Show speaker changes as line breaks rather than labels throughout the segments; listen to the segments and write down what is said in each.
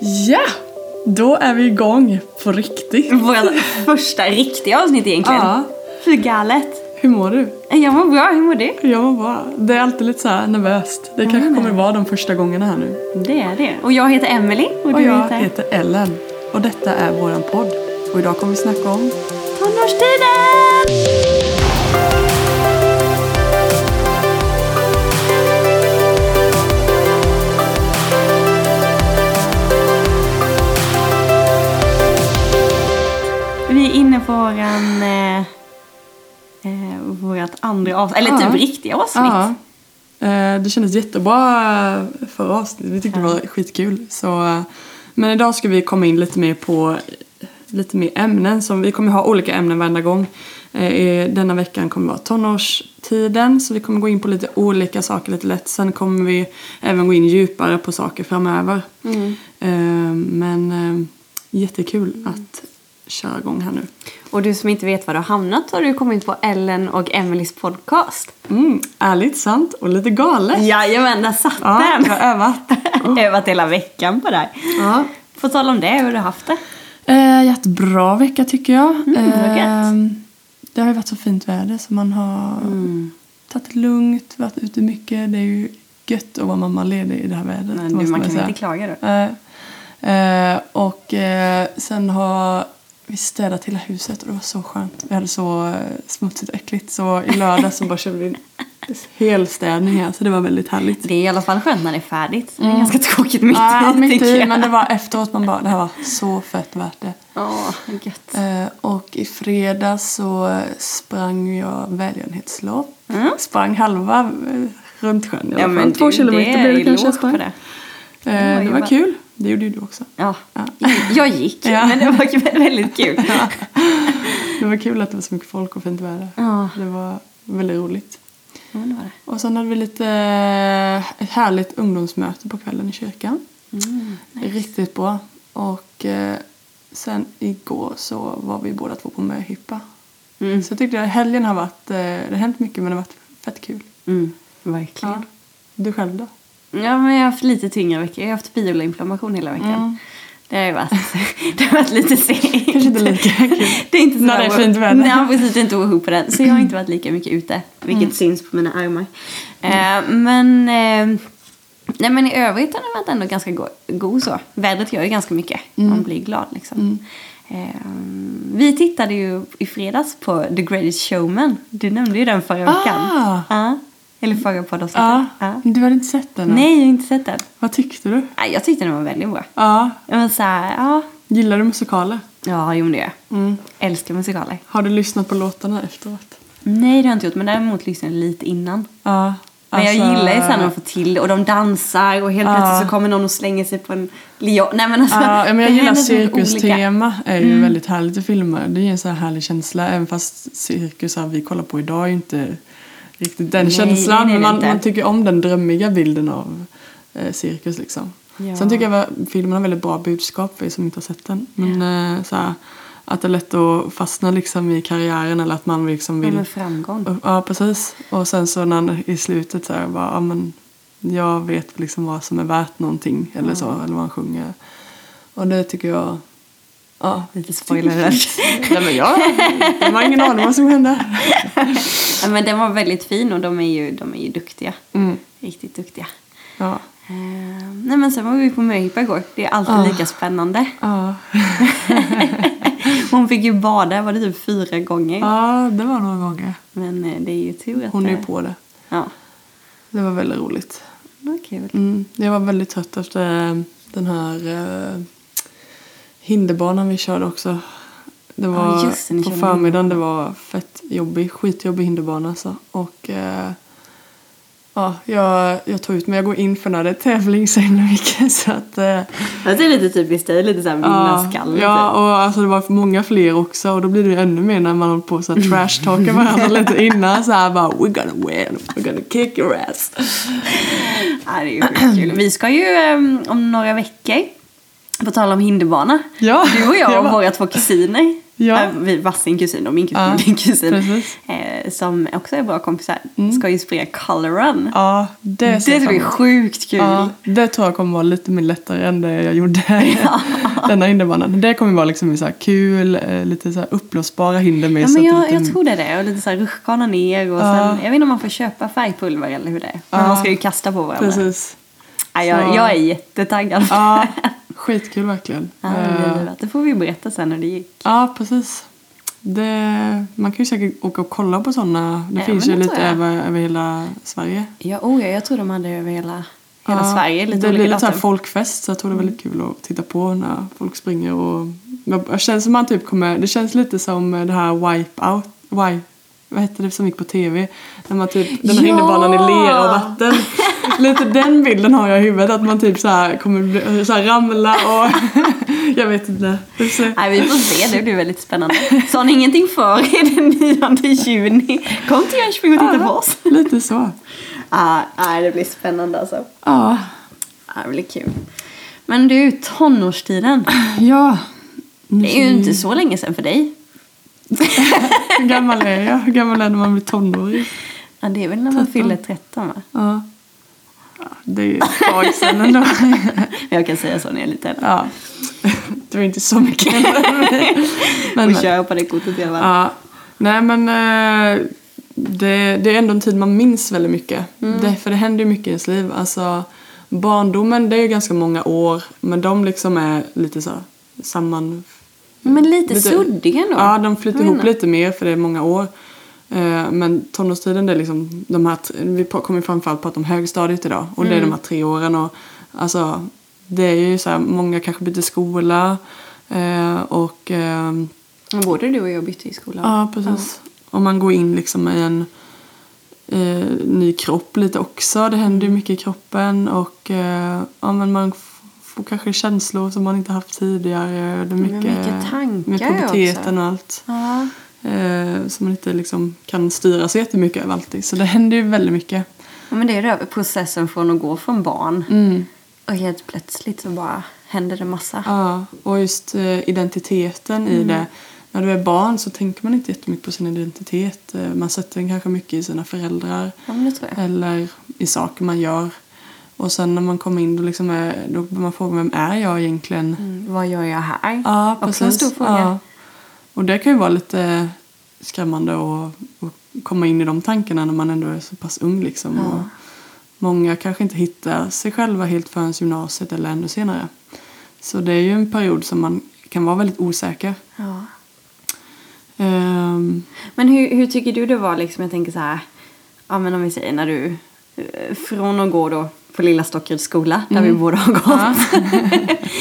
Ja! Då är vi igång på riktigt.
Vårt första riktiga avsnitt egentligen.
Ja.
Hur galet. Eh,
Hur mår du?
Jag mår bra, hur mår du?
Jag mår bra. Det är alltid lite så här nervöst. Det kanske kommer vara de första gångerna här nu.
Det är det. Och jag heter Emily och,
Och
du
jag
heter
heter Ellen. Och detta är våran podd. Och idag kommer vi snacka om...
Tonårstiden! Vi är inne på våran... Eh, eh, vårat andra avsnitt, eller
Ja.
typ riktiga avsnitt.
Eh, Det kändes jättebra eh, förra avsnittet. Vi tyckte det var skitkul. Så, eh, men idag ska vi komma in lite mer på lite mer ämnen. Som, vi kommer ha olika ämnen varenda gång. Eh, i Denna veckan kommer vara tonårstiden. Så vi kommer gå in på lite olika saker lite lätt. Sen kommer vi även gå in djupare på saker framöver. Eh, Men eh, jättekul att köra igång här nu.
Och du som inte vet var du har hamnat har du kommit på Ellen och Emelies podcast.
Mm, ärligt, sant och lite galet.
Jajamän, där satt
Ja,
den!
jag har övat.
Övat hela veckan på det här.
Ja.
På tal om det, hur har du haft det?
Eh, jättebra vecka tycker jag.
Mm,
Ehm,
vad gött.
det har ju varit så fint väder så man har
Mm.
tagit det lugnt, varit ute mycket. Det är ju gött att vara mammaledig i det här vädret.
Men du,
måste
man kan
säga.
inte klaga då.
Nej. Eh, och eh, sen har vi städat hela huset och det var så skönt. Vi hade så eh, smutsigt och äckligt så i lördag så bara körde vi en helstädning här så det var väldigt härligt.
Det är i alla fall skönt när det är färdigt. Det är ganska tråkigt Mm. mitt
Nej,
i
mitt
tycker
i,
jag.
men det var efteråt man bara, det här var så fett värt det.
Åh, gött.
Eh, Och i fredags så sprang jag välgörenhetslopp. Sprang halva eh, runt sjön i alla
Mm. Ja,
fall.
men
Två
du,
kilometer
det
blev det
är
kanske jag
eloge
sprang.
för
Det,
det.
eh,
Oj,
det var
vad-
kul. Det gjorde ju du också.
Ja, jag gick
Ja.
men det var väldigt kul.
Det var kul att det var så mycket folk och fint väder.
Ja.
Det var väldigt roligt.
Ja, det var det.
Och sen hade vi lite eh, ett härligt ungdomsmöte på kvällen i kyrkan.
Mm.
Riktigt bra. Och eh, sen igår så var vi båda två på möhippa.
Mm,
Så jag tyckte att helgen har varit, eh, det har hänt mycket men det har varit fett kul.
Mm, verkligen.
Ja. Du själv då?
Ja, men jag har haft lite tyngre veckor. Jag har haft bioinflammation hela veckan. Det har ju varit, det har varit lite segt.
Mm. Kanske inte lika kul.
Det är inte så
När det är fint väder. Mm.
Nej, precis. Det är inte att gå ihop på den. Så jag har inte varit lika mycket ute, vilket syns på mina armar.
Mm.
Eh, men, eh, nej, men i övrigt har den varit ändå ganska go- god så. Vädret gör ju ganska mycket.
Mm.
Man blir glad liksom. Eh, vi tittade ju i fredags på The Greatest Showman. Du nämnde ju den förra veckan.
Ah.
Ja. Eller förra poddavsnittet.
Ja.
Ja.
Du hade inte sett den? än.
Nej, jag har inte sett den.
Vad tyckte du?
Nej, jag tyckte den var väldigt bra.
Ja.
Men så här, ja.
Gillar du musikaler?
Ja, jo men det gör jag. Älskar musikaler.
Har du lyssnat på låtarna efteråt?
Nej, det har jag inte gjort. Men däremot lyssnade jag lite innan.
Ja.
Men jag
Alltså-
gillar ju sen när de får till Och de dansar och helt
Ja.
plötsligt så kommer någon och slänger sig på en leon. Nej men alltså.
Ja, men jag
det
gillar
händer så mycket olika.
cirkustema.
Mm.
är ju väldigt härligt i filmer. Det ger en så här härlig känsla. Även fast cirkusar vi kollar på idag är ju inte riktigt den
Nej,
känslan.
det är
Men
det
man,
inte.
man tycker om den drömmiga bilden av eh, cirkus liksom.
Ja.
Sen tycker jag att filmen har väldigt bra budskap för er som inte har sett den. Men eh, så här, att det är lätt att fastna liksom i karriären eller att man liksom
Ja,
vill
men framgång.
Ja, precis. Och sen så när, i slutet så är jag bara, ja men jag vet liksom vad som är värt någonting eller så, eller vad han sjunger. Och det tycker jag, ja.
Lite spoiler.
Nej men jag, jag har ingen aning vad som hände.
ja, men den var väldigt fin och de är ju, de är ju duktiga.
Mm.
Riktigt duktiga.
Ja.
Eh, nej men sen var vi på möhippa igår. Det är alltid
Ah.
lika spännande.
Ja.
Hon fick ju bada, var det typ fyra gånger.
ja, det var några gånger.
Men eh, det är ju tur att
Hon är
det-
ju på det.
Ja,
Det var väldigt roligt.
det var kul.
Mm. Jag var väldigt trött efter eh, den här eh, hinderbanan vi körde också. Det var
Ja, just det, ni
på
körde
förmiddagen, det var fett jobbig, skitjobbig hinderbana alltså. Och eh, ja, jag, jag tog ut mig, jag går in för när det är tävling så himla mycket så att eh,
Det är lite typiskt dig, lite såhär vinnarskalle.
Ja,
typ.
och alltså det var för många fler också och då blir det ju ännu mer när man håller på så här trashtalkar varandra lite innan så här bara we're gonna win, we're gonna kick your ass.
Ja, det är ju sjukt kul. Vi ska ju eh, om några ehm, veckor På tal om hinderbana.
Ja,
Du och jag och
ja.
våra två kusiner.
Ja.
Äh, vi- Varsin kusin och min kusin.
Ja,
din kusin
precis. Mm.
eh, som också är bra kompisar. Ska ju springa Color Run.
Ja, det
det
ser jag fram
ska bli
emot.
sjukt kul.
Ja, det tror jag kommer vara lite mer lättare än det jag gjorde denna hinderbanan. Det kommer vara liksom så här kul, eh, lite så här uppblåsbara hinder med.
Ja,
så
men
att
jag,
det inte-
jag tror det är det. Och lite så här rutschkana ner. Och
Ja.
sen, jag vet inte om man får köpa färgpulver eller hur det är. Men
Ja.
man ska ju kasta på varandra.
Precis.
Ja, jag,
Så-
jag är jättetaggad.
Ja, skitkul verkligen.
Ja, det blir
Eh,
det. det får vi berätta sen hur det gick.
Ja, precis. Det, man kan ju säkert åka och kolla på sådana. Det
Ja,
finns
men
ju
det
lite
tror jag.
över, över hela Sverige.
Ja, oh, ja, jag tror de hade över hela, hela
Ja,
Sverige. Lite
det
olika
blir lite så här
datum. Mm.
folkfest så jag tror det är väldigt kul att titta på när folk springer och... Jag, jag känns som man typ kommer... Det känns lite som det här wipeout... Wipe, vad hette det som gick på tv? När man typ... Den här
Ja!
hinderbanan i lera och vatten. lite den bilden har jag i huvudet att man typ så här kommer bli- så här ramla och... jag vet inte. Vi får se.
Nej, vi får se, det blir väldigt spännande. Sa ni ingenting för er den 9 juni? Kom till Jönköping och titta på oss.
Lite så.
Ah, nej, det blir spännande alltså.
Ja.
Ah, det blir kul. Men du, tonårstiden.
Ja.
Det är ju inte så länge sedan för dig.
Hur gammal är jag? Hur gammal är jag när man blir tonåring?
Ja, det är väl när man fyller 13 va?
Ja. Ja, Det är ju ett tag sedan ändå.
Men jag kan säga så när jag är lite äldre.
Ja. Det var inte så mycket. men,
Och
men,
kör på det kortet i alla fall.
ja. Nej men eh, det, det är ändå en tid man minns väldigt mycket.
Mm.
Det, för det händer ju mycket i ens liv. Alltså, barndomen det är ju ganska många år men de liksom är lite så här samman...
Men lite, suddiga nog.
Ja, de flyter
Jag
ihop
menar.
lite mer för det är många år. Eh, Men tonårstiden det är liksom de här, t- vi pra- kommer ju framförallt prata om högstadiet idag och det är
Mm.
de här tre åren och alltså det är ju så här, många kanske byter skola eh, och ehm,
Men Både du och jag bytte i skolan.
ja precis. Och man går in liksom i en eh, ny kropp lite också. Det händer ju
Mm.
mycket i kroppen och eh, ja men man f- får kanske känslor som man inte haft tidigare. Det är mycket,
mycket tankar
med puberteten
också.
och allt.
Ja.
Eh, som man inte liksom kan styra så jättemycket över alltid. Så det händer ju väldigt mycket.
Ja, men det är det, processen från att gå från barn och helt plötsligt så bara händer det massa.
Mm. Ja, och just eh, identiteten i
Mm.
det. När du är barn så tänker man inte jättemycket på sin identitet. Eh, Man sätter den kanske mycket i sina föräldrar.
Ja, men det tror jag.
Eller i saker man gör. Och sen när man kommer in då, liksom är, då börjar man fråga vem är jag egentligen?
Mm, vad gör jag här?
Ja,
Också en
precis.
stor fråga.
Ja. Och det kan ju vara lite skrämmande att, att komma in i de tankarna när man ändå är så pass ung. Liksom. Och många kanske inte hittar sig själva helt förrän gymnasiet eller ännu senare. Så det är ju en period som man kan vara väldigt osäker.
Ja.
Ehm,
Men hur, hur tycker du det var liksom, jag tänker så här, ja men om vi säger när du, eh, från att gå då på Lilla Stockeryds skola, där
Mm.
vi båda har gått,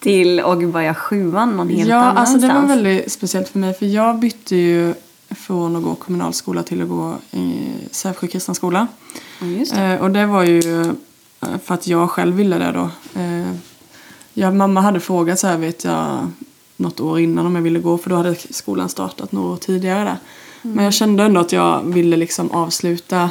till och börja sjuan någon helt
ja,
annanstans.
alltså det var väldigt speciellt för mig för jag bytte ju från att gå kommunalskola till att gå i Sävsjö kristna skola.
Ja, just det.
Eh, och det var ju eh, för att jag själv ville det då. Eh, jag, mamma hade frågat så här vet jag något år innan om jag ville gå för då hade skolan startat några år tidigare där.
Mm.
Men jag kände ändå att jag ville liksom avsluta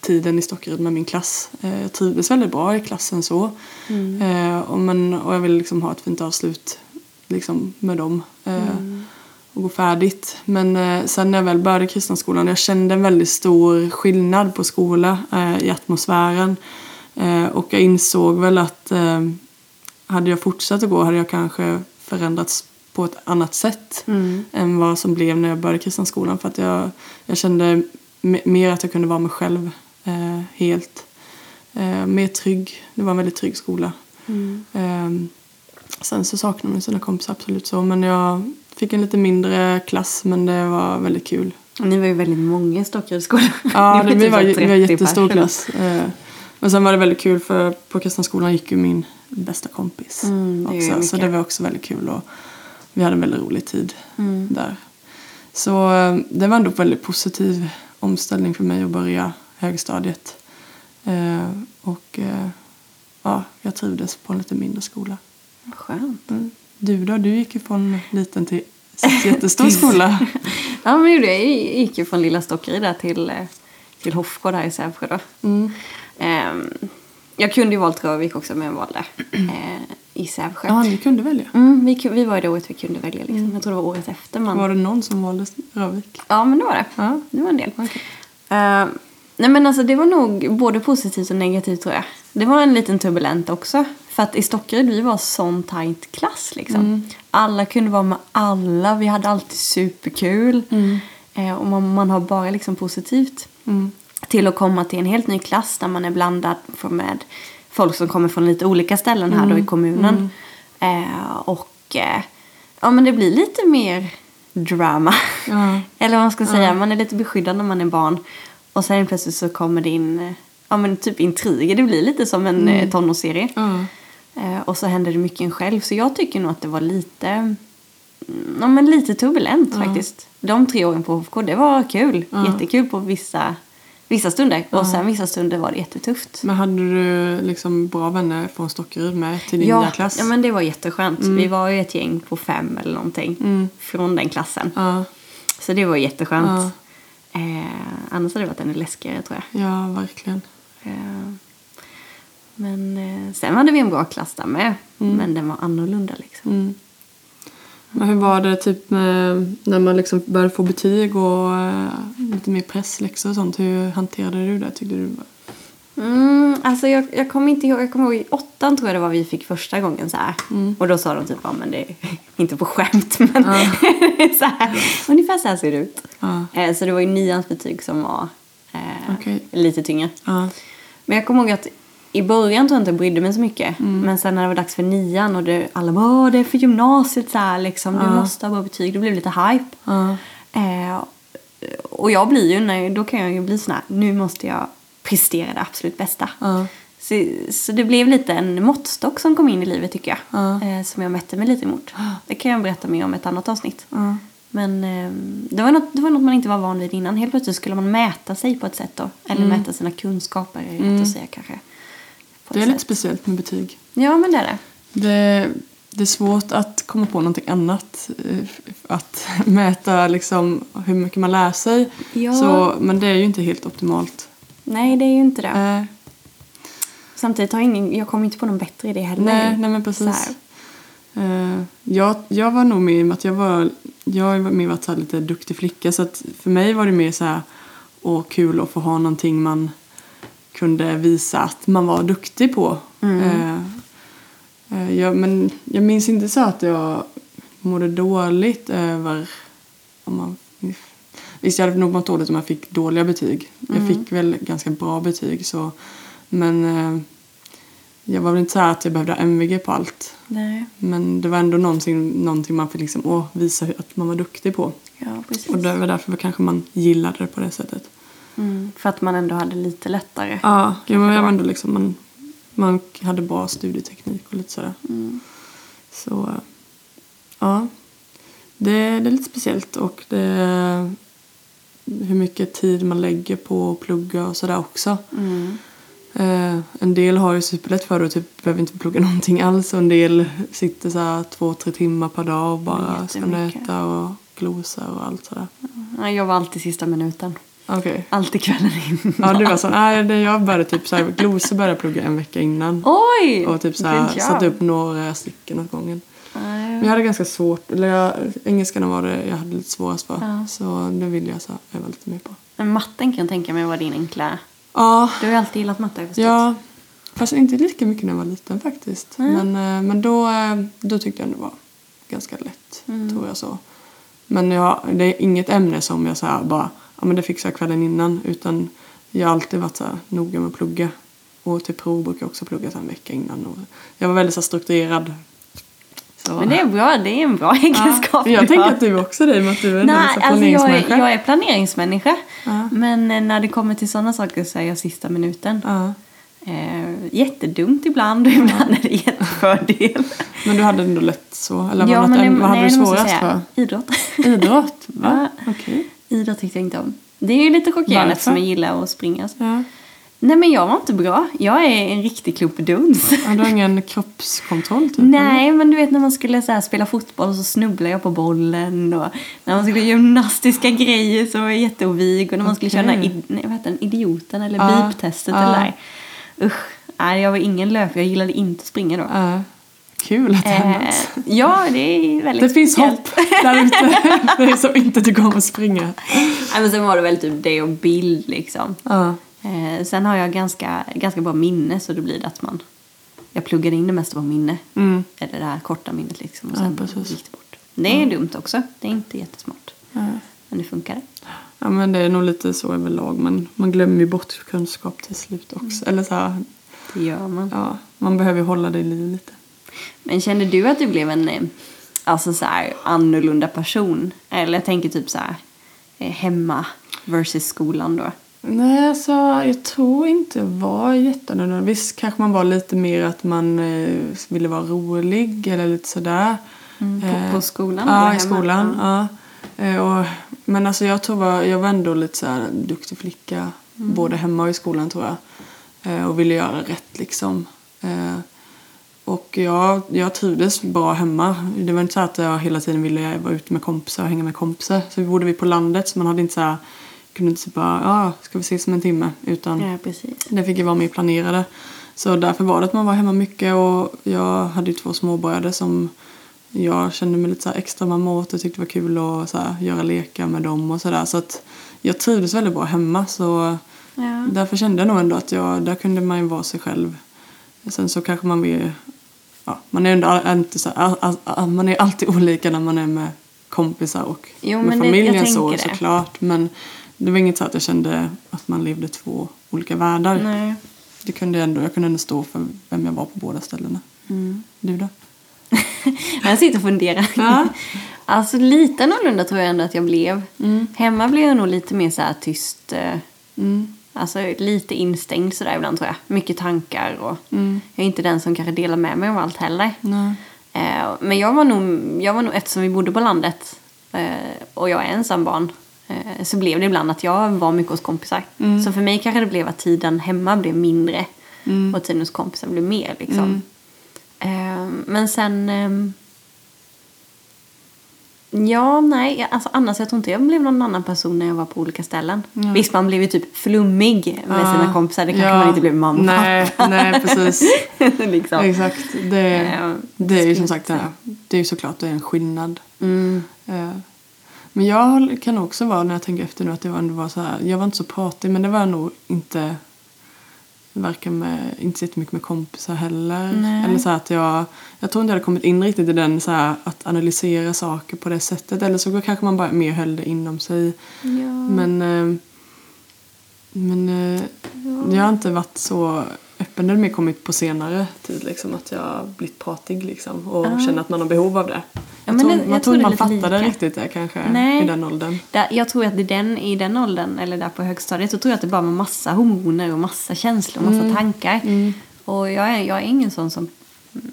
tiden i Stockerud med min klass. Eh, jag trivdes väldigt bra i klassen så.
Mm.
Eh, och, men, och jag ville liksom ha ett fint avslut liksom, med dem. Eh, och gå färdigt. Men eh, sen när jag väl började i kristna skolan, jag kände en väldigt stor skillnad på skola eh, i atmosfären. Eh, och jag insåg väl att eh, hade jag fortsatt att gå hade jag kanske förändrats på ett annat sätt än vad som blev när jag började i kristna skolan. För att jag, jag kände me- mer att jag kunde vara mig själv eh, helt. Eh, mer trygg. Det var en väldigt trygg skola. Ehm, Sen så saknar man sina kompisar absolut så men jag fick en lite mindre klass men det var väldigt kul.
Och Ni var ju väldigt många i Stockeryds skola.
Ja,
Ni
det, vi
typ
var,
så
vi
här
var
30
jättestor
personer.
klass. Eh, Men sen var det väldigt kul för på kristna skolan gick ju min bästa kompis
Mm, det är ju
också så
mycket.
det var också väldigt kul och vi hade en väldigt rolig tid
Mm.
där. Så eh, det var ändå en väldigt positiv omställning för mig att börja högstadiet. Eh, Och eh, ja, jag trivdes på en lite mindre skola.
Skönt.
Mm. Du då? Du gick ju från liten till jättestor skola.
Ja, men det gjorde jag. Jag gick ju från Lilla Stockeryd där till, eh, till Hofsjö där i
Mm.
Sävsjö då. Ehm, jag kunde ju valt Rövik också men jag valde eh, i Sävsjö.
Ja, ni kunde välja.
Mm, vi, ku- vi var ju det året vi kunde välja liksom. Jag tror det var året efter man...
Var det någon som valde Rövik?
Ja, men det var det.
Ja.
Det var en del.
Okej.
Eh, nej men alltså det var nog både positivt och negativt tror jag. Det var en liten turbulent också. För att i Stockeryd vi var sån tight klass liksom.
Mm.
Alla kunde vara med alla, vi hade alltid superkul.
Mm.
Eh, och man, man har bara liksom positivt. Till att komma till en helt ny klass där man är blandad för- med folk som kommer från lite olika ställen här
Mm.
då i kommunen. Eh, och eh, ja men det blir lite mer drama.
Ja.
Eller vad man ska säga, man är lite beskyddad när man är barn. Och sen plötsligt så kommer det in, eh, ja men typ intriger. Det blir lite som en mm. tonårsserie.
Ja.
Eh, och så händer det mycket en själv. Så jag tycker nog att det var lite, mm, ja men lite turbulent faktiskt. De tre åren på HFK, det var kul. Jättekul på vissa, vissa stunder. Och sen vissa stunder var det jättetufft.
Men hade du liksom bra vänner från Stockeryd med till din nya
Ja,
klass? Mm.
ja, men det var jätteskönt. Vi var ju ett gäng på fem eller någonting från den klassen.
ja,
Så det var jätteskönt. Eh, annars hade det varit ännu läskigare tror jag.
ja, verkligen.
Eh, men eh, sen hade vi en bra klass där med.
Mm.
Men den var annorlunda liksom.
Men hur var det typ med, när man liksom började få betyg och eh, lite mer pressläxor och sånt? Hur hanterade du det tyckte du?
Mm, alltså jag, jag kommer inte ihåg, jag kommer ihåg i åttan tror jag det var vi fick första gången så här.
Mm.
Och då sa de typ, ja men det är inte på skämt men så här, ungefär så här ser det ut.
Ja.
Eh, så det var ju nians betyg som var eh,
Okej.
lite tyngre.
Ja.
Men jag kommer ihåg att i början tror jag inte jag brydde mig så mycket.
Mm.
Men sen när det var dags för nian och det, alla bara Åh, det är för gymnasiet så här liksom. Du måste ha bra betyg. Det blev lite hype.
Ja.
Eh, och jag blir ju, när, då kan jag ju bli sån här, nu måste jag prestera det absolut bästa.
Ja.
Så, så det blev lite en måttstock som kom in i livet tycker jag.
Ja.
Eh, som jag mätte mig lite emot. Det kan jag berätta mer om i ett annat avsnitt.
Ja.
Men eh, det, var något, det var något man inte var van vid innan. Helt plötsligt skulle man mäta sig på ett sätt då. Eller
Mm.
mäta sina kunskaper är rätt att säga kanske. På
Det är
ett
lite
sätt.
speciellt med betyg.
Ja men det är det.
Det, det är svårt att komma på någonting annat. eh, Att mäta liksom hur mycket man lär sig.
Ja.
Så, men det är ju inte helt optimalt.
Nej det är ju inte det.
Eh,
Samtidigt har jag ingen, jag kom inte på någon bättre idé heller.
Nej, nej men
Så
precis.
här.
Eh, jag, jag var nog mer i och med att jag var, jag har ju mer varit så här lite duktig flicka så att för mig var det mer så här, åh kul att få ha någonting man kunde visa att man var duktig på. Eh, eh, jag, men jag minns inte så att jag mådde dåligt över om man, Visst, jag hade nog mått dåligt om jag fick dåliga betyg. Jag fick väl ganska bra betyg så men eh, jag var väl inte så här att jag behövde ha MVG på allt.
Nej.
Men det var ändå någonting, någonting man fick liksom, åh, visa hur- att man var duktig på.
Ja precis.
Och det var därför kanske man gillade det på det sättet.
Mm, för att man ändå hade lite lättare.
Ja, jo, men jag var ändå liksom, man, man hade bra studieteknik och lite sådär. Så, ja. Det, det är lite speciellt och det hur mycket tid man lägger på att plugga och sådär också.
Mm.
Eh, en del har ju superlätt för det och typ behöver inte plugga någonting alls och en del sitter så här två, tre timmar per dag och bara ska
Jättemycket.
nöta och glosa och allt sådär.
Ja, Jag var alltid sista minuten.
Okej.
Alltid kvällen innan.
Ja, du var sån. Nej, det- jag började typ såhär, glosa började jag plugga en vecka innan.
Oj!
Och typ såhär, satte upp några stycken åt gången. Men
Nej.
jag hade ganska svårt, eller jag, engelskan var det jag hade lite svårast för.
Ja.
Så det ville jag så här, öva lite mer på.
Men matten kan jag tänka mig var din enkla.
Ja,
Du har ju alltid gillat matte har jag förstått.
ja. Fast inte lika mycket när jag var liten faktiskt.
Nej.
Men, eh, men då, eh, då tyckte jag det var ganska lätt,
Mm.
tror jag så. Men jag, det är inget ämne som jag så här bara, ja men det fixar jag kvällen innan. Utan jag har alltid varit så här noga med att plugga. Och till prov brukar jag också plugga så här en vecka innan. Och jag var väldigt så här strukturerad. Så.
Men det är bra, det är en bra egenskap.
Ja, jag
du
tänker
har.
att du också är det i och med att du är en
Nej,
sån här
alltså jag är,
planeringsmänniska.
jag är planeringsmänniska.
Ja.
Men eh, när det kommer till sådana saker så är jag sista minuten.
Ja.
Eh, jättedumt ibland och ibland är det jättefördel.
Men du hade ändå lätt så? Eller var
Ja,
något
men det-
ämne- vad hade
nej,
du
det måste jag
svårast för?
säga. Idrott.
Idrott? Va? Okej.
Idrott tyckte jag inte om. Det är ju lite chockerande
Varför?
eftersom jag gillar att springa. så.
Ja.
Nej men jag var inte bra. Jag är en riktig klumpeduns.
Ja, Du har ingen kroppskontroll typ?
Nej, men du vet när man skulle så här, spela fotboll och så snubblade jag på bollen och när man skulle göra gymnastiska grejer så var jag jätteovig och när man skulle
Okej.
köra den här id- nej, vad heter den, idioten eller
Ja,
beep-testet
ja.
eller där. Usch, nej jag var ingen löpare, jag gillade inte att springa då.
Ja. Äh, Kul att det händer.
Eh, ja, det är väldigt
Det finns
speciellt.
hopp där ute för er som inte tycker om att springa.
Nej, men sen var det väl typ det och bild liksom.
Ja.
Eh, sen har jag ganska, ganska bra minne så det blir det att man... Jag pluggar in det mesta på minne.
Mm.
Eller det här korta minnet liksom. Och
Ja,
sen
precis.
gick det bort. Det är dumt också. Det är inte jättesmart. Men det funkar.
ja, men det är nog lite så överlag. Man, man glömmer ju bort kunskap till slut också.
Mm.
Eller så här,
Det gör man.
ja, man behöver ju hålla det i liv lite.
Men kände du att du blev en eh, alltså så här, annorlunda person? Eller jag tänker typ så här, eh, hemma versus skolan då.
Nej, alltså, jag tror inte jag var jätteannorlunda. Visst kanske man var lite mer att man eh, ville vara rolig eller lite sådär.
Mm,
Eh,
på- på skolan eller
Ja, i
hemma?
skolan. Ja. Eh, och, men alltså, jag tror var, jag var ändå lite så här duktig flicka både hemma och i skolan tror jag. Eh, och ville göra rätt liksom. Eh, och jag, jag trivdes bra hemma. Det var inte så att jag hela tiden ville vara ute med kompisar och hänga med kompisar. Så bodde vi på landet så man hade inte så här, kunde inte så bara, ja, ska vi ses om en timme? Utan
precis.
det fick ju vara mer planerade. Så därför var det att man var hemma mycket och jag hade ju två småbröder som jag kände mig lite så här extra mamma åt och tyckte det var kul att så här göra lekar med dem och sådär. Så att jag trivdes väldigt bra hemma så
Ja.
därför kände jag nog ändå att jag, där kunde man ju vara sig själv. Sen så kanske man vill, ja, man är ändå all- inte så här, all- all- man är alltid olika när man är med kompisar och
Jo,
med
men det- jag
familjen så
tänker det.
såklart. Men det var inget så att jag kände att man levde två olika världar.
Nej.
Det kunde jag, ändå, jag kunde ändå stå för vem jag var på båda ställena.
Mm.
Du då?
Jag sitter och funderar.
Ja.
Alltså lite annorlunda tror jag ändå att jag blev.
Mm.
Hemma blev jag nog lite mer så här tyst. eh,
Mm.
Alltså lite instängd sådär ibland tror jag. Mycket tankar och jag är inte den som kanske delar med mig av allt heller.
Mm. Nej.
Eh, Men jag var nog, jag var nog eftersom vi bodde på landet eh, och jag är ensam barn eh, så blev det ibland att jag var mycket hos kompisar.
Mm.
Så för mig kanske det blev att tiden hemma blev mindre
Mm.
och tiden hos kompisar blev mer liksom. Eh, Men sen... ehm, Ja, nej. jag- Alltså, annars jag tror inte jag blev någon annan person när jag var på olika ställen.
Mm.
Visst, man blev ju typ flummig med sina kompisar. Det kanske man inte blev med mamma och
Ah. Nej, nej precis.
pappa, liksom.
Exakt. Det,
Ja,
det är ju som sagt det här. Det är ju såklart det är en skillnad.
Mm.
Eh, Men jag kan också vara, när jag tänker efter nu, att det var ändå var så här. Jag var inte så pratig, men det var jag nog inte varken med, inte så jättemycket med kompisar heller. Eller så här att jag, jag tror inte jag hade kommit in riktigt i den så här, att analysera saker på det sättet. Eller så kanske man bara mer höll det inom sig. Men, eh, men eh, jag har inte varit så öppen. Det har mer kommit på senare tid liksom, att jag har blivit pratig liksom, och känner att man har behov av det. jag
men
tror,
det-
man
jag
tror inte
tror det
man
är lite
fattade
lika.
riktigt det kanske
Nej.
i den åldern.
Där, jag tror att i den, i den åldern, eller där på högstadiet, så tror jag att det bara var massa hormoner och massa känslor och massa tankar. Och jag är, jag är ingen sån som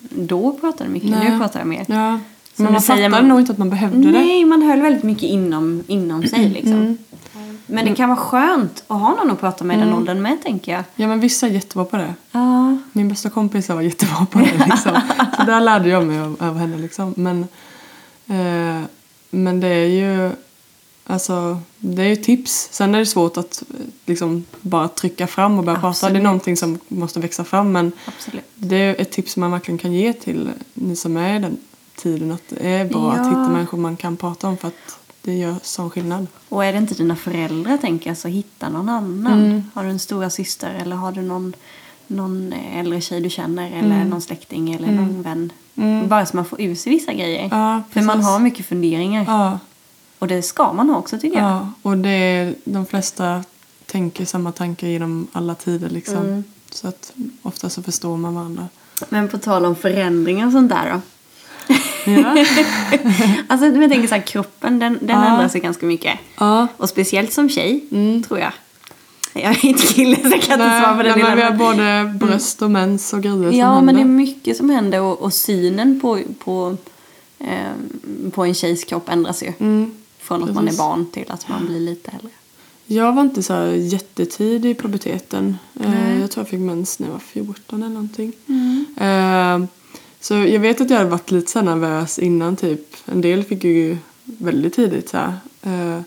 då pratade mycket, nu pratar jag mer.
Ja.
Som
Men
du
man
säger,
fattade
man-
nog inte att man behövde det.
Nej, man höll väldigt mycket inom, inom sig liksom. Men det kan vara skönt att ha någon att prata med i den åldern med, tänker jag.
Ja men vissa är jättebra på det.
Ja,
Min bästa kompis var jättebra på det liksom. Så där lärde jag mig av, av henne liksom. Men, eh, men det är ju Alltså, det är ju tips. Sen är det svårt att eh, liksom bara trycka fram och börja prata. Det är
Absolut.
någonting som måste växa fram men
absolut.
det är ett tips som man verkligen kan ge till ni som är i den tiden att det är bra att
Ja.
hitta människor man kan prata om för att det gör sån skillnad.
Och är det inte dina föräldrar, tänker jag, så hitta någon annan.
Mm.
Har du en stora syster eller har du någon, någon eh, äldre tjej du känner eller
Mm.
någon släkting eller någon vän. Bara så man får ur sig vissa grejer.
Ja,
För man
precis.
har mycket funderingar.
Ja.
Och det ska man ha också, tycker jag.
Ja, och det är, de flesta tänker samma tankar genom alla tider liksom. Så att ofta så förstår man varandra.
Men på tal om förändringar och sånt där då.
Ja.
Alltså, jag tänker så här, kroppen den, den
Ja.
ändrar sig ganska mycket.
ja. Mm.
Och speciellt som tjej, tror jag. Jag är inte kille så jag kan inte svara
Nej,
på den
nej, men
delen,
vi har både
men-
bröst och mens och grejer som
Ja, men det är
händer.
mycket som händer och, och synen på, på, ehm, på en tjejs kropp ändras ju. Från att man är
Mm, Precis.
barn till att man blir lite äldre.
Jag var inte så här jättetidig i puberteten. Eh, Jag tror jag fick mens när jag var 14 eller någonting.
Mm.
Eh, Så jag vet att jag hade varit lite så här nervös innan typ. En del fick ju väldigt tidigt så här. Eh,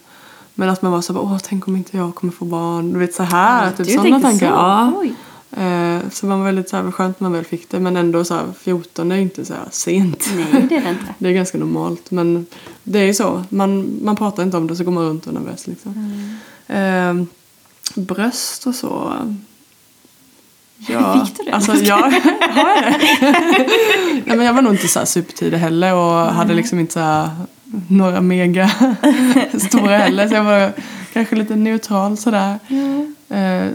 Men att man var så här, åh tänk om inte jag kommer få barn. Du vet så här, typ
du
sådana
tänkte
tankar.
så?
Ja.
Oj.
Eh, så man var väldigt så här, vad skönt man väl fick det. Men ändå så här, 14 är ju inte så här sent.
Nej, det är det inte.
Det är ganska normalt. Men det är ju så. Man, man pratar inte om det så går man runt och är nervös liksom.
Mm.
Eh, bröst och så.
Fick du det?
Alltså, jag, har jag det? Nej, men jag var nog inte så här supertidig heller och hade liksom inte så här några mega stora heller. Så jag var kanske lite neutral sådär. Eh,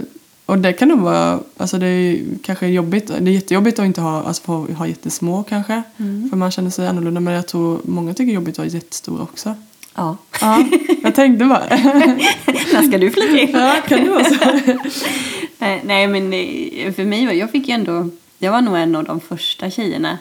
och det kan nog vara, alltså det är ju kanske jobbigt, det är jättejobbigt att inte ha, alltså få ha jättesmå kanske. För man känner sig annorlunda men jag tror många tycker det är jobbigt att ha jättestora också.
Ja.
Ja, jag tänkte bara,
När ska du flyga in?
ja, kan det vara så?
Nej, nej, men eh, för mig var jag fick ju ändå... Jag var nog en av de första tjejerna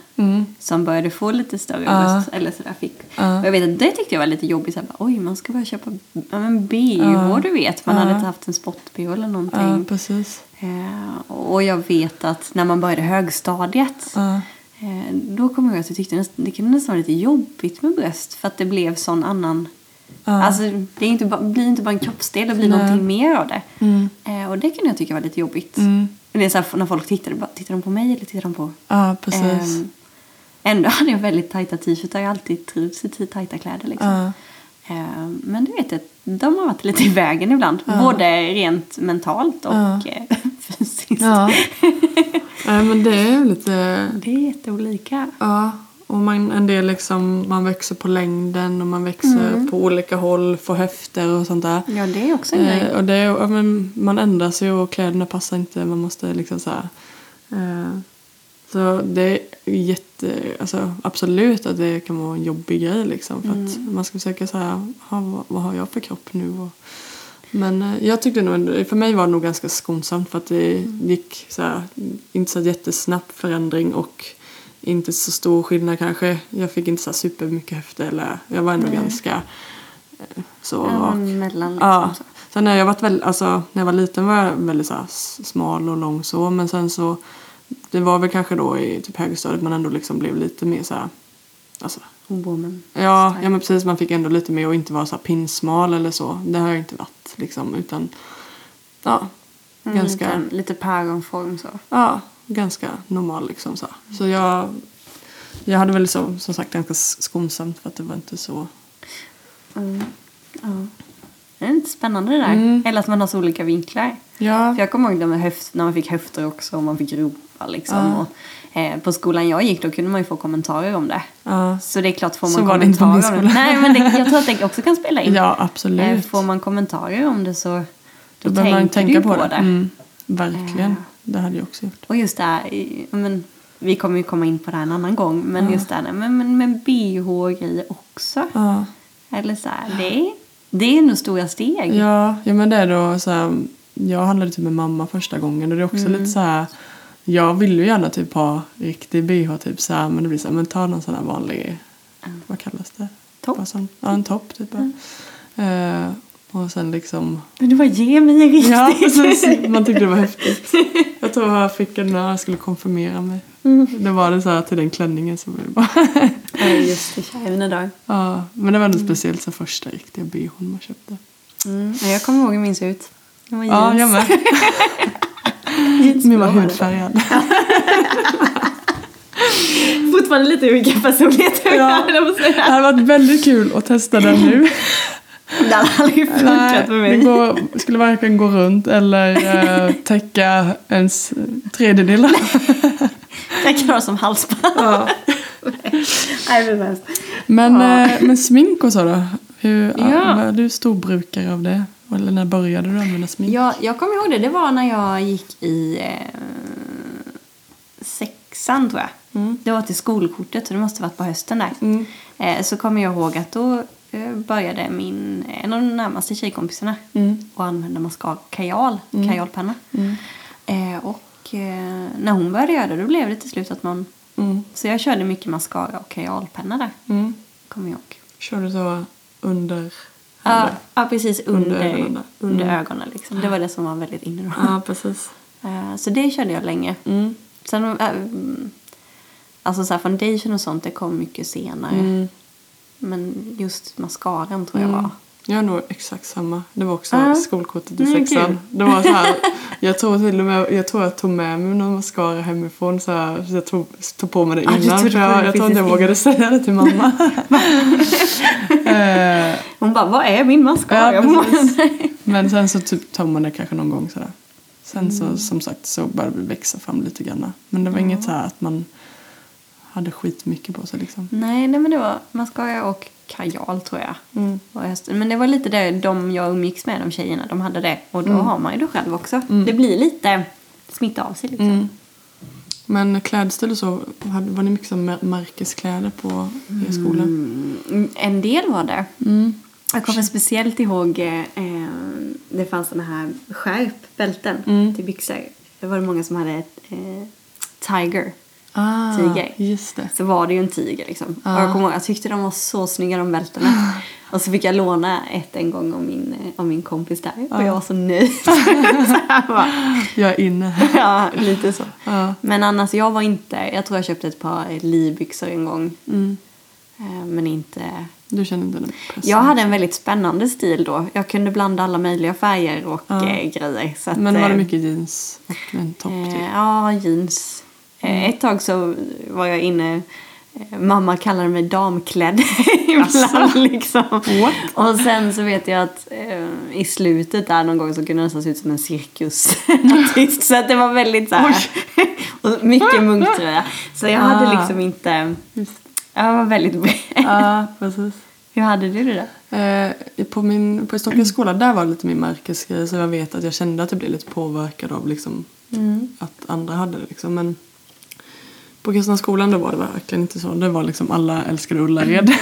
som började få lite större
Mm. Ja.
bröst. Eller sådär fick.
Ja.
Och jag vet att det tyckte jag var lite jobbigt. Såhär, bara, Oj, man ska börja köpa ja, men bh, du vet. Man hade inte haft en sport-bh eller
Ja,
någonting.
precis.
Eh, och jag vet att när man började högstadiet
Ja.
eh, då kommer jag ihåg att jag tyckte nästan, det kunde nästan vara lite jobbigt med bröst för att det blev sån annan...
Ja.
Alltså det är inte bara, blir inte bara en kroppsdel, det blir
Nej.
någonting mer av det.
Mm.
Eh, och det kunde jag tycka var lite jobbigt.
Mm.
Men det är så här, när folk tittar, bara, tittar de på mig eller tittar de på...
Ja, precis.
Ehm, ändå hade jag väldigt tajta t-shirtar, jag har alltid trivts i t- tajta kläder liksom.
Ja.
Ehm, men du vet, att de har varit lite i vägen ibland. Både rent mentalt och
Ja.
eh, fysiskt.
Ja. Nej men det är ju lite...
Det är jätteolika.
Ja. Och man, en del liksom, man växer på längden och man växer på olika håll, får höfter och sånt där.
Ja, det är också en grej.
Eh, och det, är- ja, men man ändras ju och kläderna passar inte. Man måste liksom så här... Eh, så det är jätte... Alltså absolut att det kan vara en jobbig grej liksom. För
Mm.
att man ska försöka så här, "Ha, vad, vad har jag för kropp nu? Och, men eh, jag tyckte nog, ändå- för mig var det nog ganska skonsamt för att det
Mm.
gick så här, inte så jättesnabb förändring och inte så stor skillnad kanske. Jag fick inte så här supermycket höfter eller jag var ändå ganska eh, så
Ja,
rak.
men mellan liksom.
Ja.
Så.
Sen när jag, varit väl, alltså, när jag var liten var jag väldigt så här, s- smal och lång så. Men sen så, det var väl kanske då i typ högstadiet man ändå liksom blev lite mer så här, alltså,
Woman.
ja,
Stark.
ja men precis man fick ändå lite mer och inte vara så här pinsmal eller så. Det har jag inte varit liksom utan, ja, ganska,
Mm, Lite, lite päronform så.
ja, ganska normal liksom så. här. Så jag, jag hade väl så, som sagt ganska s- skonsamt för att det var inte så,
Mm. Ja. Det är lite spännande det där.
Mm.
Eller att man har så olika vinklar.
ja,
För jag kommer ihåg det med höft, när man fick höfter också och man fick rumpa liksom.
Ja.
Och, eh, på skolan jag gick då kunde man ju få kommentarer om det.
ja,
Så det är klart får man
Så var det inte på min
kommentarer om det.
skola.
Nej men det, jag tror att det också kan spela in.
ja
Eh,
absolut.
Får man kommentarer om det så då,
Då behöver man
tänker
tänka
du
på det. Mm, verkligen.
Eh.
Det hade jag också gjort.
Och just det här, i- ja, men, vi kommer ju komma in på det här en annan gång, men just det här men, men, men bh och grejer också.
Ja,
Eller så här, det, det är nog stora steg.
ja, ja men det är då så här, Jag handlade typ med mamma första gången och det är också lite så här. Jag vill ju gärna typ ha riktig bh typ så här, men det blir så här, men ta någon sån här vanlig, vad kallas det?
Topp.
Bara sån- Ja, en topp typ. bara. Eh, och sen liksom
Men du bara, ge mig en riktig.
Ja, precis. Man tyckte det var häftigt. Jag tror jag fick en när jag skulle konfirmera mig. Då var det så här till den klänningen som vi bara...
Ja, just det, kära mina dagar.
Ja, men det var nog speciellt så första riktiga bhn man köpte.
Mm. ja, Jag kommer ihåg hur min ser ut. Det var
Ja,
jeans.
jag med. Min var hudfärgad.
Fortfarande lite olika personligheter.
Ja.
jag måste säga.
Det hade varit väldigt kul att testa den nu.
Det hade aldrig funkat för
det
mig.
går, skulle varken gå runt eller eh, täcka ens tredjedel.
Jag kan ha det som halsband.
Ja.
Nej, men hemskt.
Men, eh, men smink och så då? Hur,
Ja.
Var du storbrukare av det? Eller när började du använda smink?
Jag, jag kommer ihåg det. Det var när jag gick i eh, sexan, tror jag. Det var till skolkortet, så det måste ha varit på hösten där.
Mm,
Eh, så kommer jag ihåg att då eh, började min, en av de närmaste tjejkompisarna att använda mascara, kajal, kajalpenna. Eh, och eh, när hon började göra det, då blev det till slut att man...
Mm.
Så jag körde mycket mascara och kajalpenna där, kommer jag ihåg.
Kör du så under?
Ja, ja precis. Under,
Under
under
ögonen
ögonen.
där.
liksom. Det var det som var väldigt inne då.
Ja, precis.
Eh, Så det körde jag länge.
Mm.
Sen, eh, mm, alltså så här,
mm.
Mm. foundation och sånt det kom mycket senare. Men just mascaran tror jag var
Jag har nog exakt samma. Det var också
Mm. Ja. Mm,
skolkortet i
Men
sexan.
kul.
Det var så här, jag tror till och med, jag tror jag tog med mig någon mascara hemifrån så, här, så jag tog, tog på mig det
Ah, du
innan.
tog
för
på
jag,
det
jag tror inte jag
precis
vågade säga det till mamma. eh,
Hon bara, vad är min
Ja,
mascara? Ja,
precis. men sen så typ tar man det kanske någon gång sådär. Sen
Mm.
så som sagt så började det växa fram lite grann. Men det var inget så här att man hade skitmycket på sig liksom.
nej, nej, men det var mascara och kajal tror jag.
Mm.
var i hösten. Men det var lite det de jag umgicks med, de tjejerna, de hade det. Och då har man ju det själv också. Det blir lite smitta av sig liksom.
Mm. Men klädstil och så, hade- var det mycket så här mär- märkeskläder på i skolan?
Mm, En del var det. Jag kommer speciellt ihåg, eh, eh, det fanns såna här skärpbälten till byxor. Det var det många som hade ett eh, tiger.
Ah,
Tiger.
Just det.
Så var det ju en tiger liksom. Och jag kommer ihåg, jag tyckte de var så snygga de bältena. Och så fick jag låna ett en gång av min, eh, av min kompis där. Och jag var så nöjd. så jag bara,
Jag är inne.
ja, lite så.
Ja.
Men annars, jag var inte, jag tror jag köpte ett par livbyxor en gång.
Mm.
Eh, Men inte,
Du känner inte den pressen?
jag hade en väldigt spännande stil då. Jag kunde blanda alla möjliga färger och
Ja.
eh, grejer. Så att,
Men var det
eh,
mycket jeans och Mm. en topp typ?
Eh, ja, jeans. Eh, ett tag så var jag inne, eh, mamma kallade mig damklädd ibland
Asså?
liksom.
What?
Och sen så vet jag att eh, i slutet där någon gång så kunde jag nästan se ut som en
Mm.
cirkusartist. så att det var väldigt så här. och mycket munktröja. Så jag hade
Mm. Ah.
liksom inte,
Just.
jag var väldigt bred.
Ja, Ah, precis.
Hur hade du det då?
Eh, på min, på Stockholms skola där var det lite mer märkesgrej så jag vet att jag kände att jag blev lite påverkad av liksom,
Mm.
att andra hade det. Liksom. Men på kristna skolan då var det verkligen inte så. Det var liksom alla älskade Ullared.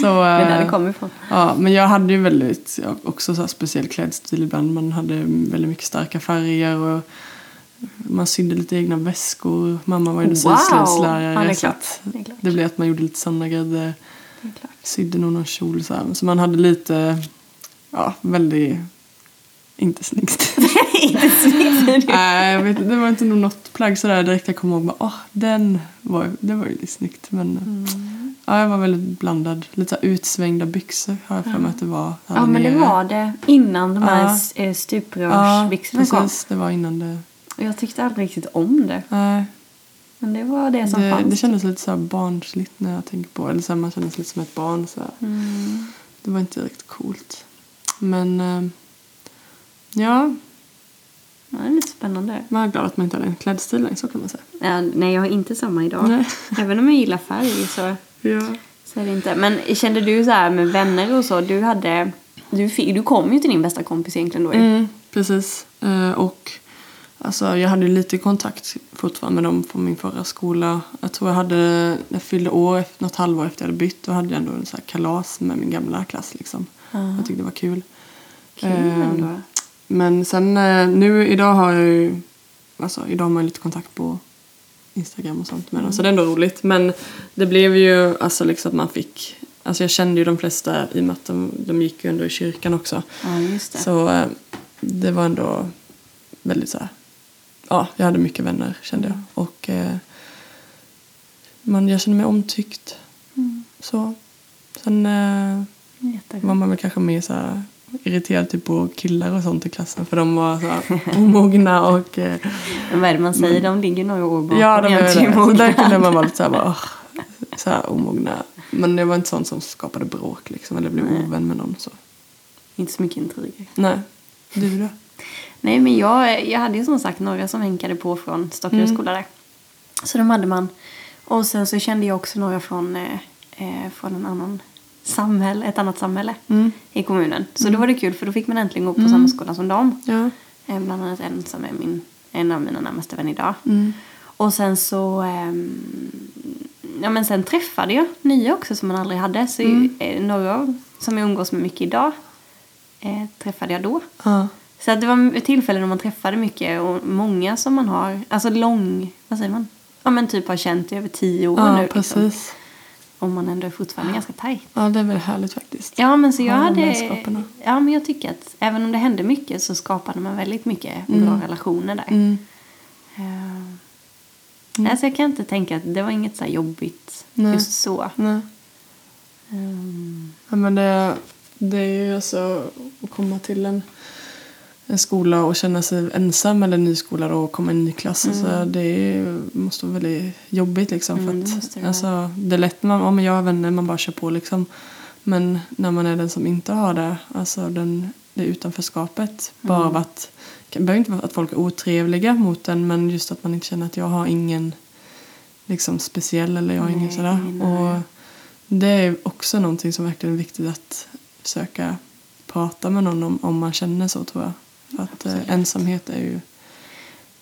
så,
Det är där
eh,
det kom ifrån.
Ja, men jag hade ju väldigt, ja, också så här speciell klädstil ibland. Man hade väldigt mycket starka färger och man sydde lite egna väskor. Mamma var ju
Wow!
syslöjdslärare.
Ja, det är
så
klart.
att
Det är klart.
det blev att man gjorde lite sådana grejer.
Det är klart.
Sydde nog någon kjol så här. Så man hade lite, ja, väldigt, inte snyggt.
Inte snyggt.
Nej, jag vet inte, det var inte nog något plagg sådär direkt jag kommer ihåg. Bara, åh, den var, det var ju lite snyggt. Men
Mm.
ja, jag var väldigt blandad. Lite så här utsvängda byxor har jag för mig att det var. här
Ja men det
nere.
var det innan de
Ja.
här ja.
Ja,
stuprörsbyxorna kom.
precis. Det var innan det...
Och jag tyckte aldrig riktigt om det.
Nej,
Men det var det som
det,
fanns.
det kändes lite så här barnsligt när jag tänker på det. Eller så här, man kändes lite som ett barn. Så här.
Mm.
Det var inte riktigt coolt. Men eh, ja,
Ja, det är lite spännande.
man är glad att man inte hade en klädstil längre, så kan man säga.
Ja, nej, jag har inte samma idag.
Nej.
Även om jag gillar färg så,
Ja.
så är det inte. Men kände du så här med vänner och så, du hade... Du, fick, du kom ju till din bästa kompis egentligen då ju.
Mm, precis. Eh, och alltså, jag hade ju lite kontakt fortfarande med dem från min förra skola. Jag tror jag hade, när jag fyllde år, något halvår efter jag hade bytt, då hade jag ändå en så här kalas med min gamla klass liksom. Jag tyckte det var kul.
Kul
Eh,
ändå.
Men sen eh, nu idag har jag ju, alltså idag har man ju lite kontakt på Instagram och sånt med dem. Så det är ändå roligt. Men det blev ju alltså liksom att man fick, alltså jag kände ju de flesta i och med att de, de gick ju ändå i kyrkan också.
Ja, just det.
Så eh, det var ändå väldigt så här, ja jag hade mycket vänner kände jag. Och eh, man, jag kände mig omtyckt. Mm. Så. Sen eh,
Jättebra.
var man väl kanske mer så här irriterad typ på killar och sånt i klassen för de var så här omogna och eh,
Men vad är det man säger? De ligger några år bakom.
Mm. ja, de
en
var
till
det. Så
mognad.
där kunde man vara lite så här, bara, "Åh", så här omogna. Men det var inte sånt som skapade bråk liksom eller blev ovän med någon så.
Inte så mycket intriger.
Nej. Du då?
Nej, men jag, jag hade ju som sagt några som hänkade på från Stockholms skola där. Så de hade man. Och sen så kände jag också några från, eh, eh, från en annan samhälle, ett annat samhälle i kommunen. Så då var det kul för då fick man äntligen gå på samma skola som dem.
Ja.
Eh, bland annat en som är min, en av mina närmaste vänner idag.
Mm.
Och sen så ehm, ja, men sen träffade jag nya också som man aldrig hade. Så eh, några av- som jag umgås med mycket idag eh, träffade jag då.
Ja.
Så att det var tillfällen när man träffade mycket och många som man har, alltså lång, vad säger man? Ja men typ har känt i över tio år nu.
Ja,
liksom.
precis.
Och man ändå är fortfarande ganska tajt.
Ja, det är väl härligt faktiskt.
Ja men så jag
Ja,
hade,
vänskaperna.
ja men jag tycker att även om det hände mycket så skapade man väldigt mycket bra relationer där.
Mm.
Eh, Alltså jag kan inte tänka att det var inget så här jobbigt
Nej.
just så.
Nej.
Eh, Ehm,
Ja, men det, det är ju alltså att komma till en, en skola och känna sig ensam eller en ny skola då, och komma i en ny klass. Alltså, det är, ju- måste vara väldigt jobbigt liksom. För
Mm, det
att,
måste det
alltså, det är lätt när man, ja, men jag har vänner, man bara kör på liksom. Men när man är den som inte har det, alltså den, det utanförskapet.
Mm.
Bara av att, det behöver inte vara att folk är otrevliga mot en men just att man inte känner att jag har ingen liksom speciell eller jag har ingen
Nej,
sådär.
ingen
Och,
nära.
det är också någonting som verkligen är viktigt att försöka prata med någon om, om man känner så tror jag. För att eh,
Absolut.
ensamhet är ju...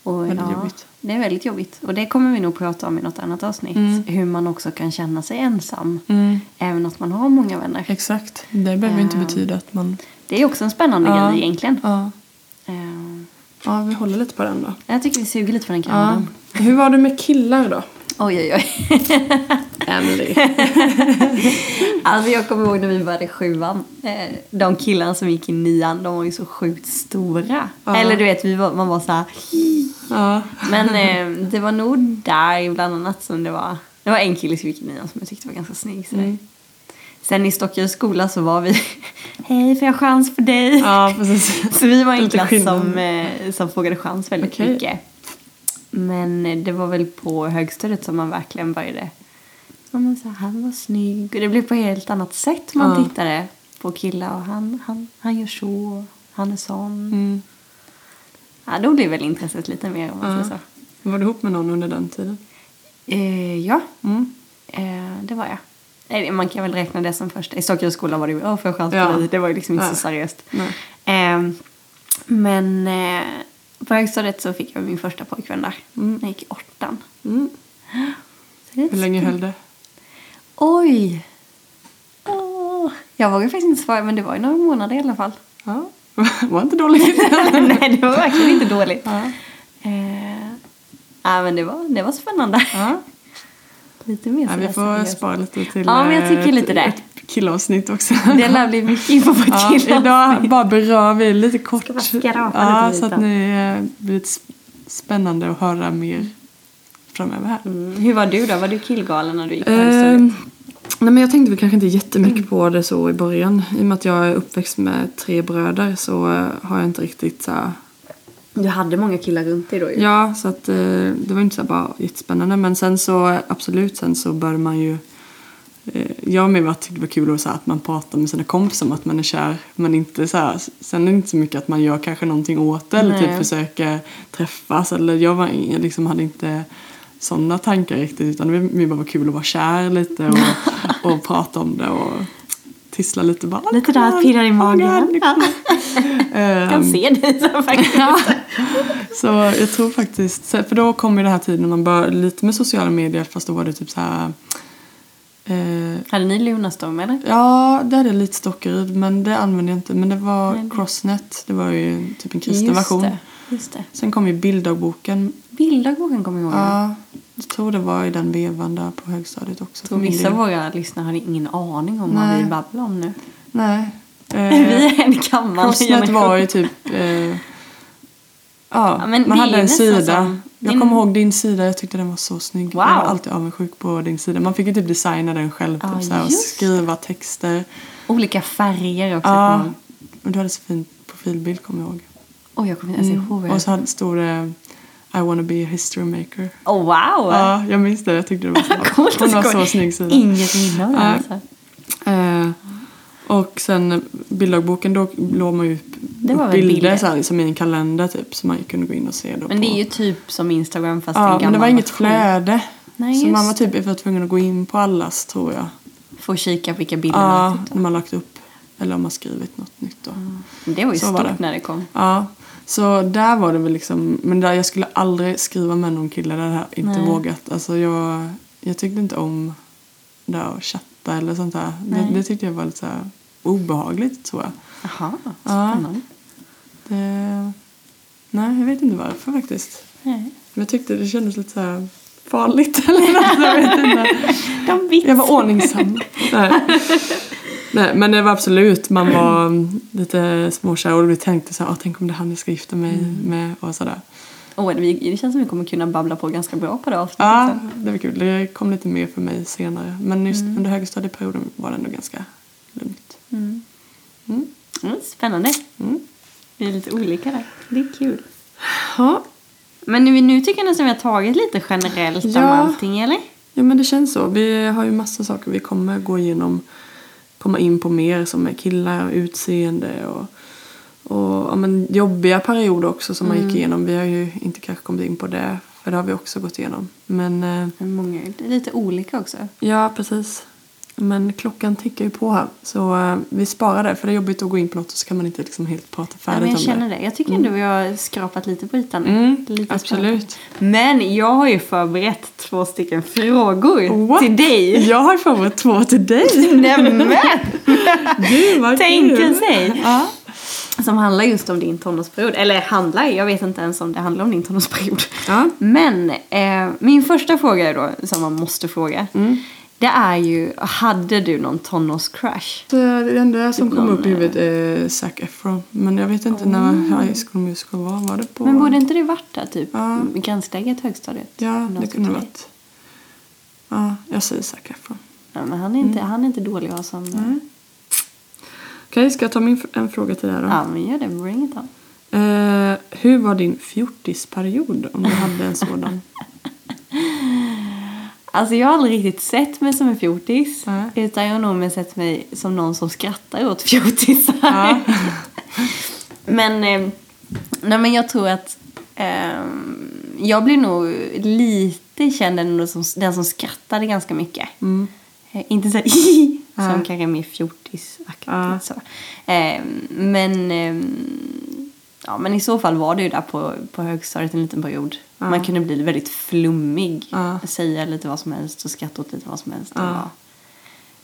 och,
Väldigt
ja,
jobbigt.
Det är väldigt jobbigt. Och det kommer vi nog prata om i något annat avsnitt.
Mm.
Hur man också kan känna sig ensam. Även att man har många vänner.
Exakt. Det behöver ju inte
Ehm,
betyda att man...
Det är också en spännande
Ja.
grej egentligen.
Eh. Ja.
Ehm,
ja, vi håller lite på den då.
jag tycker vi suger lite på den
Ja.
kanten.
Hur var det med killar då?
Oj, oj, oj.
Emily.
Alltså jag kommer ihåg när vi började sjuan. Eh, De killarna som gick i nian, de var ju så sjukt stora.
Ja.
Eller du vet, vi var, man var så här.
ja.
Men eh, det var nog där bland annat som det var. Det var en kille som gick i nian som jag tyckte var ganska snygg. sådär.
Mm.
Sen i Stockholms skola så var vi, hej får jag chans för dig?
ja, precis.
Så vi var en
Lite
klass
skillnad.
som, eh, som frågade chans väldigt
Okej.
mycket. Men eh, det var väl på högstadiet som man verkligen började. Så man sa, han var snygg. Och det blev på ett helt annat sätt man
Ja.
tittade på killar. Och han, han, han gör så, han är sån.
Mm.
Ja, då blev väl intresset lite mer om man
Ja.
säger så.
Var du ihop med någon under den tiden?
Eh, ja,
Mm.
eh, det var jag. Eh, Man kan väl räkna det som första. I Stockholms skola var det ju, åh får jag chans på
Ja.
dig? Det var ju liksom inte
Ja.
så seriöst.
Nej.
Ehm, men eh, på högstadiet så fick jag min första pojkvän där.
Mm.
När jag gick i åttan.
Mm.
Så det är
Hur länge höll det?
Oj! Åh. Jag vågar faktiskt inte svara, men det var ju några månader i alla fall.
Ja. var inte dåligt.
Nej, det var verkligen inte dåligt.
ja.
Eh, ja, men det var, det var spännande.
Ja.
Lite mer
Ja, vi
sådär
får
seriöst.
spara lite till
Ja, men jag
eh,
tycker lite det.
ett killavsnitt också.
Det lär bli mycket info på
Ja,
killar.
idag bara berör vi lite kort.
bara skrapa
ja,
lite
så
på
att
ytan.
ni eh, blir lite sp- spännande att höra mer framöver här.
Mm. Hur var du då? Var du killgalen när du gick på
Ehm,
högstadiet?
nej men jag tänkte väl kanske inte jättemycket på det så i början. I och med att jag är uppväxt med tre bröder så eh, har jag inte riktigt så här,
Du hade många killar runt dig då ju.
Ja, så att eh, det var inte så här bara jättespännande. Men sen så eh, absolut, sen så bör man ju eh, jag med att tyckte det var kul att, så här, att man pratar med sina kompisar om att man är kär. Men inte så här, sen är det inte så mycket att man gör kanske någonting åt det eller
Nej.
typ försöker träffas. Eller jag, var, jag liksom hade inte sådana tankar riktigt utan det var mer bara var kul att vara kär lite och, och prata om det och tissla lite bara. "Åh,
Lite där att
kolla,
pirra i
åh,
magen."
God, det är kul.
Jag
Ehm,
kan se dig så faktiskt.
så jag tror faktiskt, för då kom ju den här tiden när man började lite med sociala medier fast då var det typ så här. Eh,
Hade ni Lunarstorm eller?
ja, det hade jag lite Stockerud men det använde jag inte. Men det var
Nej, det-
Crossnet, det var ju typ en kristen version.
det. Just det.
Sen kom ju bilddagboken.
Bilddagbogen kommer jag ihåg. Ja.
Ja, jag tror det var i den vevan där på högstadiet också. för
Och
min
vissa av
del.
våra lyssnare hade ingen aning om vad
Nej. Eh,
vi babblar om nu.
Nej.
Vi
Eh,
är en gammal
Crossnet
generation.
var ju typ... Eh, Ja,
Ja, men
man
det är
hade
ju
en
nästan
sida.
som-
Jag
din-
kommer ihåg din sida, jag tyckte den var så snygg.
Wow.
Jag var alltid avundsjuk på din sida. Man fick ju typ designa den själv
Ja,
typ, så här, och
just
skriva texter.
Olika färger också.
Ja,
kommer
och du hade så fin profilbild kommer jag ihåg. Mm.
jag ihåg. Oj, jag kommer inte ens ihåg. vad
Och
jag-
så hade- stod det I wanna be a history maker.
Oh, wow!
Ja, jag minns det. Jag tyckte det var så,
Coolt att
hon var
skoja.
så snygg sida.
Inget minne av det
Ja.
alltså.
Eh, och sen bilddagboken, då låg man ju upp
Det var väl
bilder,
bilder.
Så här, som i en kalender typ. Så man kunde gå in och se då
Men det
på-
är ju typ som Instagram fast en
Ja,
gammal
men det var inget
version.
flöde.
Nej,
så
just
man var typ var tvungen att gå in på allas tror jag.
Får kika på vilka bilder man har
Ja,
tittat.
när man lagt upp. Eller om man skrivit något nytt då.
Det var ju
Så
stort
var det.
när det kom.
Ja, så där var det väl liksom. Men där, jag skulle aldrig skriva med någon kille. Det hade jag inte
Nej.
vågat. Alltså jag, jag tyckte inte om det här att chatta eller sånt där.
Nej.
Det, det tyckte jag var lite så här obehagligt tror jag.
Jaha,
Ja.
spännande.
Det, eh, nej, jag vet inte varför faktiskt.
Nej.
Men jag tyckte det kändes lite så här farligt eller något. Jag vet inte.
De bits.
Jag var ordningsam. Nej. Nej, men det var absolut, man var mm, lite småkär och vi tänkte så här, "Ah, tänk om det är han jag ska gifta mig med och sådär.
Åh, det, det känns som vi kommer kunna babbla på ganska bra på det avsnittet.
Ja,
sen.
det var kul. Det kom lite mer för mig senare. Men just under högstadieperioden var det ändå ganska lugnt. Mm.
Mm, spännande.
Mm.
Vi är lite olika där. Det är kul.
Ja.
Men nu, nu tycker jag nästan vi har tagit lite generellt om
Ja.
allting, eller?
ja, men det känns så. Vi har ju massa saker vi kommer gå igenom. Komma in på mer som är killar och utseende och, och ja, men jobbiga perioder också som
Mm.
man gick igenom. Vi har ju inte kanske kommit in på det, för det har vi också gått igenom. Men eh,
Många, det är lite olika också.
Ja, precis. Men klockan tickar ju på här. Så eh, vi sparar det, för det är jobbigt att gå in på något och så kan man inte liksom helt prata
Ja,
färdigt
men jag
om
känner
det.
det. Jag tycker ändå vi har skrapat lite på ytan.
Mm,
lite
absolut.
spännande. Men jag har ju förberett två stycken frågor
What?
till dig.
Jag har förberett två till dig.
Nämen!
Gud, vad
Tänker
kul.
sig!
Ja.
Som handlar just om din tonårsperiod. Eller handlar, jag vet inte ens om det handlar om din tonårsperiod.
Ja.
Men eh, min första fråga då, som man måste fråga.
Mm.
Det är ju, hade du någon tonårscrush?
Så eh, Det enda som kom
någon,
upp i huvudet är Zac Efron. Men jag vet inte när High School Musical var. Var det på...
Men borde inte det varit där typ?
Ja.
Gränsläget högstadiet?
Ja, det
Gymnasiet
kunde det
till dig?
varit. Ja, jag säger Zac Efron.
Ja, men han är, inte,
Mm.
han är inte dålig att ha som...
Okej, ska jag ta min, f- en fråga till dig då?
Ja, men gör det. Bring it on.
Eh, hur var din fjortisperiod om du hade en sådan?
Alltså jag har aldrig riktigt sett mig som en fjortis.
Nej.
Utan jag har nog mer sett mig som någon som skrattar åt fjortisar.
Ja.
men, eh, nej, men jag tror att eh, jag blir nog lite känd ändå som den som skrattade ganska mycket.
Mm,
Eh, Inte så här, som
Ja.
kanske är mer fjortisaktigt.
Ja.
Så. Eh, men, eh, ja, men i så fall var det ju där på, på högstadiet en liten period. Man kunde bli väldigt flummig,
Ja.
säga lite vad som helst och skratta åt lite vad som helst.
Ja.
Och bara,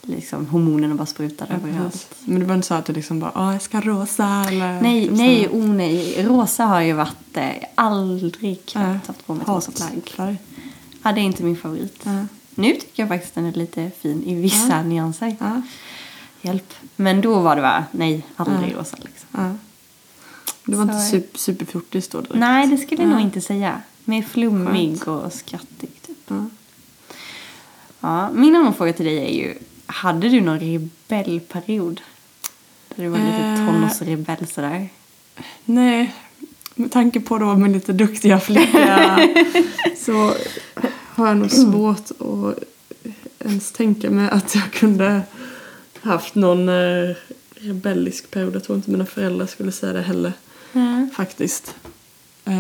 liksom, hormonerna bara sprutade överallt.
Men du var inte så att du liksom bara ah, jag ska rosa eller...
Nej,
typ
nej,
sådär.
oh nej. Rosa har ju varit, eh, aldrig knappt
Nej.
haft på mig ett rosa plagg.
Hatflagg.
Ja, det är inte min favorit.
Ja.
Nu tycker jag faktiskt den är lite fin i vissa nyanser.
Ja.
Hjälp. Men då var det bara, nej, aldrig
Ja.
rosa liksom.
Ja. Du var
Så
inte
är-
super, superfjortis då direkt?
Nej, det skulle jag nog inte säga. Mer flummig och skrattig typ.
Ja.
Ja, min annan fråga till dig är ju, hade du någon rebellperiod? Där du var lite
Eh.
tonårsrebell sådär.
Nej, med tanke på då min lite duktiga flicka så Mm. har jag nog svårt att ens tänka mig att jag kunde haft någon eh, rebellisk period. Jag tror inte mina föräldrar skulle säga det heller. Faktiskt. Eh,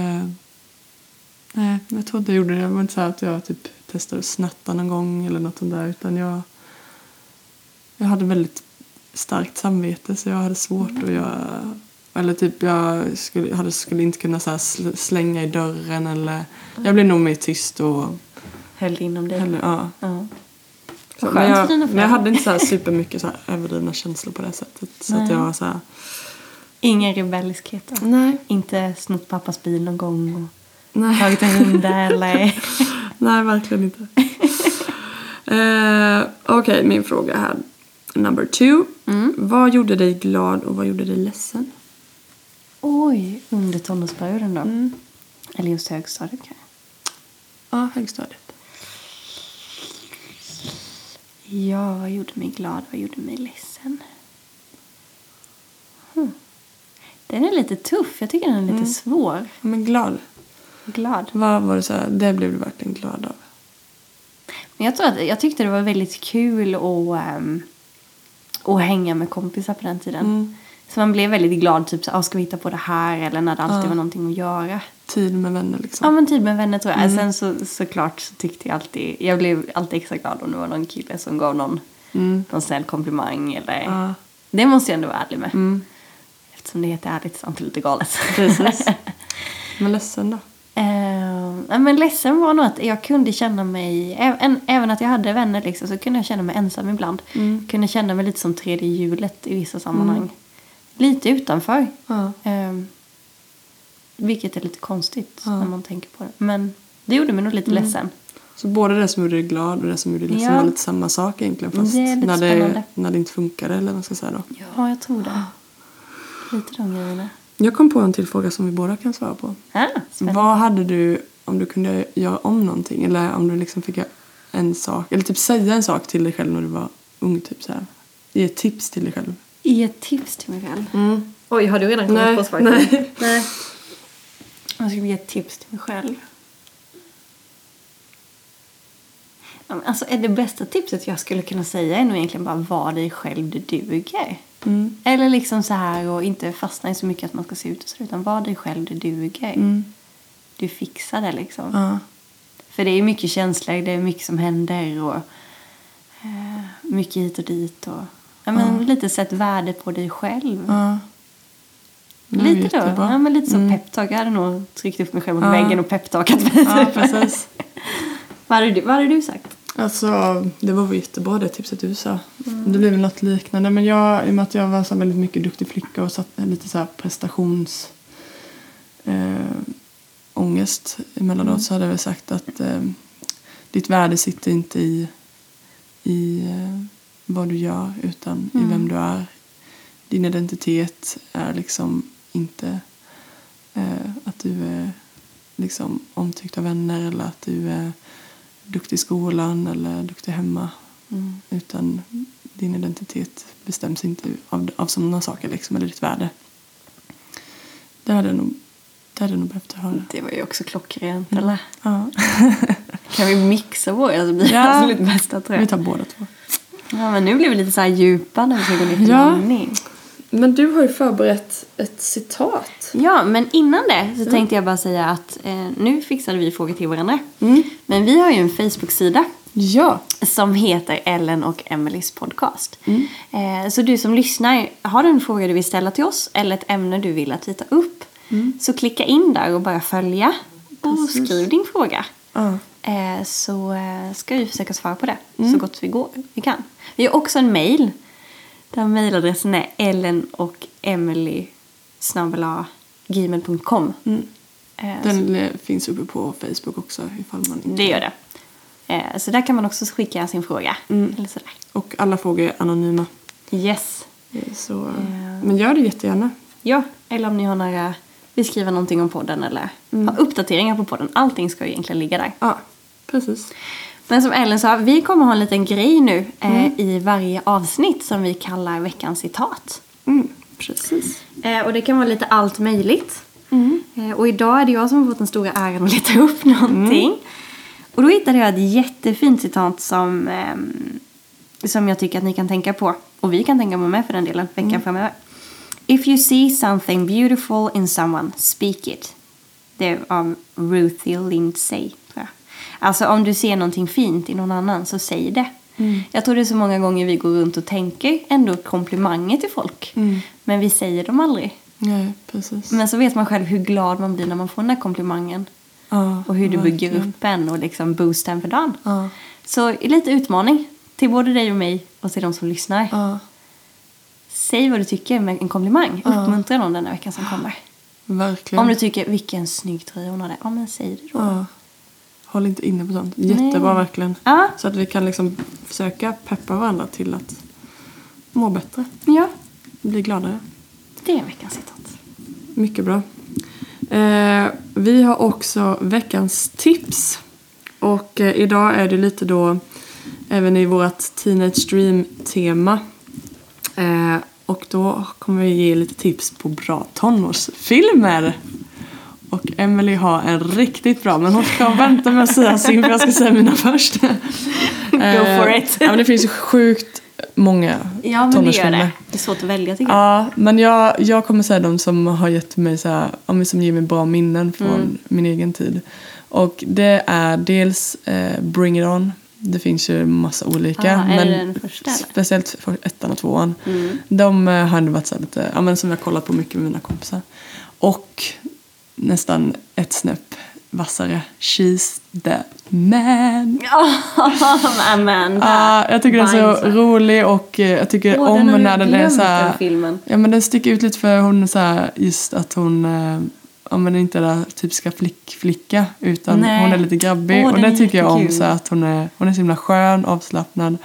nej, men jag tror inte jag gjorde det. Det var inte så här att jag typ testade att snatta någon gång eller något sånt där. Utan jag, jag hade väldigt starkt samvete så jag hade svårt att göra... Eller typ jag skulle, jag hade, skulle inte kunna så här sl- slänga i dörren eller... Jag blev nog mer tyst och...
Höll inom dig.
Eller, ja.
Ja.
Så,
Vad
men,
skönt för
jag,
dina
men jag
föräldrar.
hade inte så här supermycket så här överdrivna känslor på det sättet. Så att
Nej.
jag var så här...
Ingen rebelliskhet då?
Nej.
Inte snott pappas bil någon gång och
Nej.
tagit en runda eller?
Nej, verkligen inte. eh, Okej, min fråga här. Number two. Vad gjorde dig glad och vad gjorde dig ledsen?
Oj, Mm. under tonårsperioden då? Eller just högstadiet kanske?
Ja, högstadiet.
Ja, vad gjorde mig glad? Vad gjorde mig ledsen? Hmm. Den är lite tuff. Jag tycker den är lite svår.
Ja, Men glad.
Glad.
Vad var det så här? Det blev du verkligen glad av.
Men jag tror att jag tyckte det var väldigt kul att, ehm, att hänga med kompisar på den tiden. Så man blev väldigt glad, typ så ah, ska vi hitta på det här? Eller när det alltid
Ja.
var någonting att göra.
Tid med vänner liksom. Mm.
Ja men tid med vänner tror jag. Sen så, såklart så tyckte jag alltid, jag blev alltid extra glad om det var någon kille som gav någon, någon snäll komplimang eller.
Mm. Ja. Mm.
Det måste jag ändå vara ärlig med. Eftersom det heter ärligt så är det lite galet.
Precis. Men ledsen då?
Eh, nej, men ledsen var nog att jag kunde känna mig, ä- en- även att jag hade vänner liksom, så kunde jag känna mig ensam ibland. Kunde känna mig lite som tredje hjulet i vissa sammanhang. Lite utanför.
Ja.
Eh, vilket är lite konstigt
Ja.
när man tänker på det. Men det gjorde mig nog lite ledsen.
Så både det som gjorde dig glad och det som gjorde dig ledsen
Ja.
var lite samma sak egentligen. Fast
Det är lite
när,
spännande.
det, när det inte funkade eller vad man ska säga då.
Ja, jag tror det. Lite de grejerna.
Jag kom på en till fråga som vi båda kan svara på.
Ah, spännande.
Vad hade du om du kunde göra om någonting eller om du liksom fick göra en sak eller typ säga en sak till dig själv när du var ung typ så här. Ge ett tips till dig själv.
Ge ett tips till mig själv. Oj, har du redan kommit
Mm. Nej,
på svaret?
nej.
nej. Jag ska ge ett tips till mig själv. Ja, men Alltså, är det bästa tipset jag skulle kunna säga är nog egentligen bara var dig själv du duger.
Mm.
Eller liksom så här och inte fastna i så mycket att man ska se ut och så utan var dig själv du duger. Du fixar det liksom.
Mm. Ja.
För det är mycket känslor, det är mycket som händer och eh, mycket hit och dit. Och, ja, men Lite sätt värde på dig själv.
Ja. Det var
Lite då.
jättebra. Mm.
Ja, men lite så peptalk. Jag hade nog tryckt upp mig själv mot
Ja.
väggen och peptalkat
Ja, precis.
vad, hade du, vad hade du sagt?
Alltså, det var väl jättebra det tipset du sa.
Mm.
Det blev väl något liknande. Men jag, i och med att jag var så här väldigt mycket duktig flicka och satt med lite så här prestations... Eh, ångest emellanåt så hade jag väl sagt att eh, ditt värde sitter inte i, i eh, vad du gör utan i vem du är. Din identitet är liksom inte eh, att du är liksom omtyckt av vänner eller att du är duktig i skolan eller duktig hemma. Utan din identitet bestäms inte av, av sådana saker liksom, eller ditt värde. Det hade jag nog, det hade jag nog behövt höra.
Det var ju också klockrent, eller?
Ja.
Kan vi mixa Alltså, våra så blir det
Ja.
absolut bästa tror
Vi
jag.
tar båda två.
Ja, men nu blir vi lite så här djupa när vi ska gå ner till
Ja.
landning.
Men du har ju förberett ett citat.
Ja, men innan det så tänkte jag bara säga att eh, nu fixade vi frågor till varandra. Men vi har ju en Facebook-sida
Mm. Ja.
som heter Ellen och Emelies podcast.
Mm.
Eh, så du som lyssnar, har du en fråga du vill ställa till oss eller ett ämne du vill att vi tar upp så klicka in där och bara följa och
Mm. Precis.
skriv din fråga.
Ja.
Eh, så eh, ska vi försöka svara på det
Mm.
så gott vi, går, vi kan. Vi har också en mail där mailadressen är ellen och emily gmail.com. Eh, så-
Mm. Den eh, finns uppe på Facebook också ifall man inte...
det gör det. Eh, så där kan man också skicka sin fråga.
Mm.
Eller sådär.
Och alla frågor är anonyma.
Yes.
Eh, Så... Men gör det jättegärna.
Ja, eller om ni har några, vill skriva någonting om podden eller ha uppdateringar på podden. Allting ska ju egentligen ligga där.
Ja, precis.
Men som Ellen sa, vi kommer ha en liten grej nu eh, i varje avsnitt som vi kallar veckans citat.
Mm, precis.
Eh, och det kan vara lite allt möjligt. Eh, och idag är det jag som har fått den stora äran att leta upp någonting. Och då hittade jag ett jättefint citat som, ehm, som jag tycker att ni kan tänka på. Och vi kan tänka på med för den delen veckan
Mm.
framöver. If you see something beautiful in someone, speak it. Det är av Ruthie Lindsay, tror jag. Alltså om du ser någonting fint i någon annan så säg det.
Mm.
Jag tror det är så många gånger vi går runt och tänker ändå komplimanger till folk.
Mm.
Men vi säger dem aldrig.
Nej, precis.
Men så vet man själv hur glad man blir när man får den där komplimangen.
Ja,
Och hur det bygger
verkligen.
upp en och liksom boostar en för dagen.
Ja.
Så lite utmaning till både dig och mig och till de som lyssnar.
Ja,
Säg vad du tycker med en komplimang.
Ja.
Uppmuntra någon den här veckan som kommer.
verkligen.
Om du tycker vilken snygg tröja hon hade, ja men säg det då.
ja. Håll inte inne på sånt. Jättebra
Nej.
verkligen.
Ja.
Så att vi kan liksom försöka peppa varandra till att må bättre,
Ja,
bli gladare.
det är veckans citat.
Mycket bra. Eh, vi har också veckans tips. Och eh, idag är det lite då även i vårt Teenage Dream-tema. Eh, och då kommer vi ge lite tips på bra tonårsfilmer. Och Emily har en riktigt bra, men hon ska vänta med att säga sin för jag ska säga mina först. Go
for it.
ja, men det finns ju sjukt många
Ja, men det gör
tonårsfilmer.
det. Det är svårt att välja tycker jag.
Ja, men jag, jag kommer säga de som har gett mig så här, ja, men som ger mig bra minnen från
Mm.
min egen tid. Och det är dels eh, Bring It On. Det finns ju massa olika.
Ah, är det
men
den första, eller? Mm.
speciellt för ettan och tvåan. De eh, har ändå varit så här lite, ja, men som jag har kollat på mycket med mina kompisar. Och nästan ett snäpp vassare. She's the man.
Oh, Amanda.
Ja, Ah, jag tycker den är så
Bynes.
rolig och eh, jag tycker
Åh,
om
den har
när
du
den är
glömt,
så här,
den filmen.
Ja men den sticker ut lite för hon är så här, just att hon eh, ja, men inte är den typiska flick, flicka utan
Nej.
hon är lite grabbig
Åh,
och
den
det
är
tycker jag om
jättekul.
så här, att hon är, hon är så himla skön, avslappnad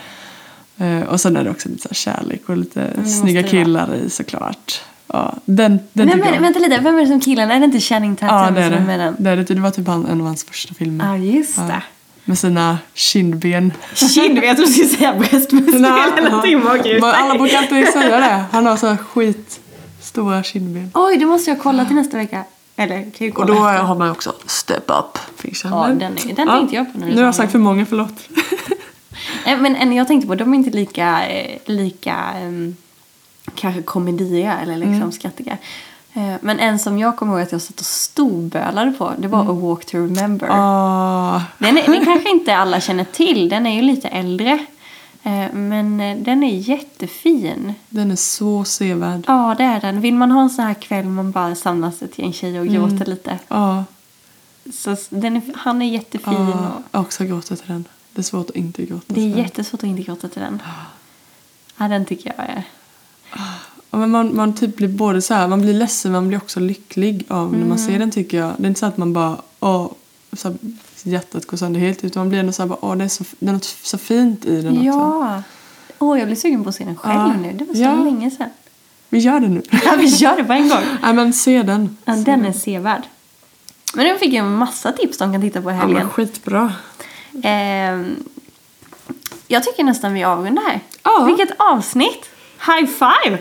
eh, och sen är det också lite så här kärlek och lite
det måste
snygga
det vara.
killar i såklart. Ja, den, den
Nej,
tycker
men,
jag.
vänta lite, vem är det som killar? Är det inte Channing Tatum
ja, det är
som är med
det.
den?
Det, är det. det var typ han, en av hans första filmer.
Ja, just
Ja.
det.
Med sina kindben.
Kind, jag trodde du skulle säga bröstmuskel eller någonting. vad kul.
Men Alla brukar alltid säga det. Han har så här skitstora kindben.
Oj, det måste jag kolla till nästa vecka. Eller kan ju
Och
kolla
då
efter.
har man också Step Up Fiction.
Ja, den är- den tänkte jag på när du
Nu har jag
sa den.
sagt för många, förlåt.
Nej, Eh, men en jag tänkte på, de är inte lika, eh, lika um, kanske komediga eller liksom
Mm.
skrattiga. Eh, Men en som jag kommer ihåg att jag satt och storbölade på, det var A Walk to Remember.
Mm. Ah,
Den, är, den kanske inte alla känner till, den är ju lite äldre. Eh, Men eh, den är jättefin.
den är så sevärd.
Ja, det är den. Vill man ha en sån här kväll man bara samlas ett gäng tjejer och
Mm.
gråter lite.
Ja,
Så s- den är, han är jättefin.
ah,
Och
jag har också gråtit till den. Det är svårt att inte gråta.
det
till
är
den.
jättesvårt att inte gråta till den.
Ah.
Ja, den tycker jag är...
Ja, men man, man typ blir både så här, man blir ledsen men man blir också lycklig av när man
Mm.
ser den tycker jag. Det är inte så att man bara åh, så här, hjärtat går sönder helt utan man blir ändå så här, bara, åh, det, är så, det är något så fint i den också.
Ja! Åh, jag blir sugen på att se den själv
Ja.
nu. Det var så
Ja.
länge sedan.
Vi gör det nu.
Ja, vi gör det på en gång.
Nej men se den.
Ja, den är sevärd. Men nu fick jag en massa tips de kan titta på i
Ja, men
helgen.
skitbra.
Ehm, jag tycker nästan vi avrundar här.
Ja.
Vilket avsnitt! High five!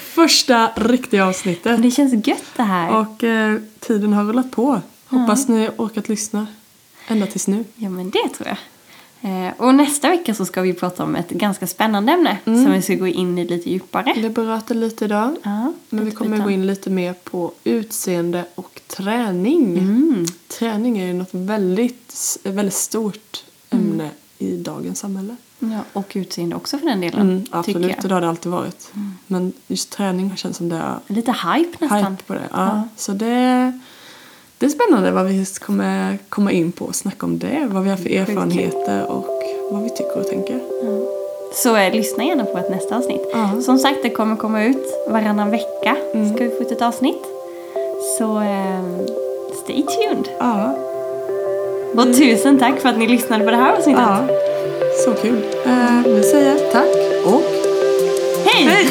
Första riktiga avsnittet.
Det känns gött det här.
Och eh, tiden har rullat på. Hoppas ni orkat lyssna ända tills nu.
Ja, men det tror jag. Eh, och nästa vecka så ska vi prata om ett ganska spännande ämne
Mm.
som vi ska gå in i lite djupare.
Vi berörde lite idag.
Ja,
Men vi
lite
kommer
bitar.
gå in lite mer på utseende och träning.
Mm.
Träning är ju något väldigt, väldigt stort
Mm.
ämne i dagens samhälle.
Ja, och utseende också för den delen. Mm, tycker
Mm, absolut, och
jag. Mm.
det har det alltid varit. Men just träning har känts som det är
Lite hype nästan.
hype på det. Ja. Så det, det är spännande vad vi kommer komma in på och snacka om det. Vad vi har för erfarenheter och vad vi tycker och tänker.
Så eh, lyssna gärna på ett nästa avsnitt.
Ja. Mm.
Som sagt, det kommer komma ut varannan vecka. Ska vi få ut ett avsnitt. Så eh, stay tuned.
Ja,
Och tusen tack för att ni lyssnade på det här avsnittet.
ja. så kul. Eh, vi säger tack och
Hej!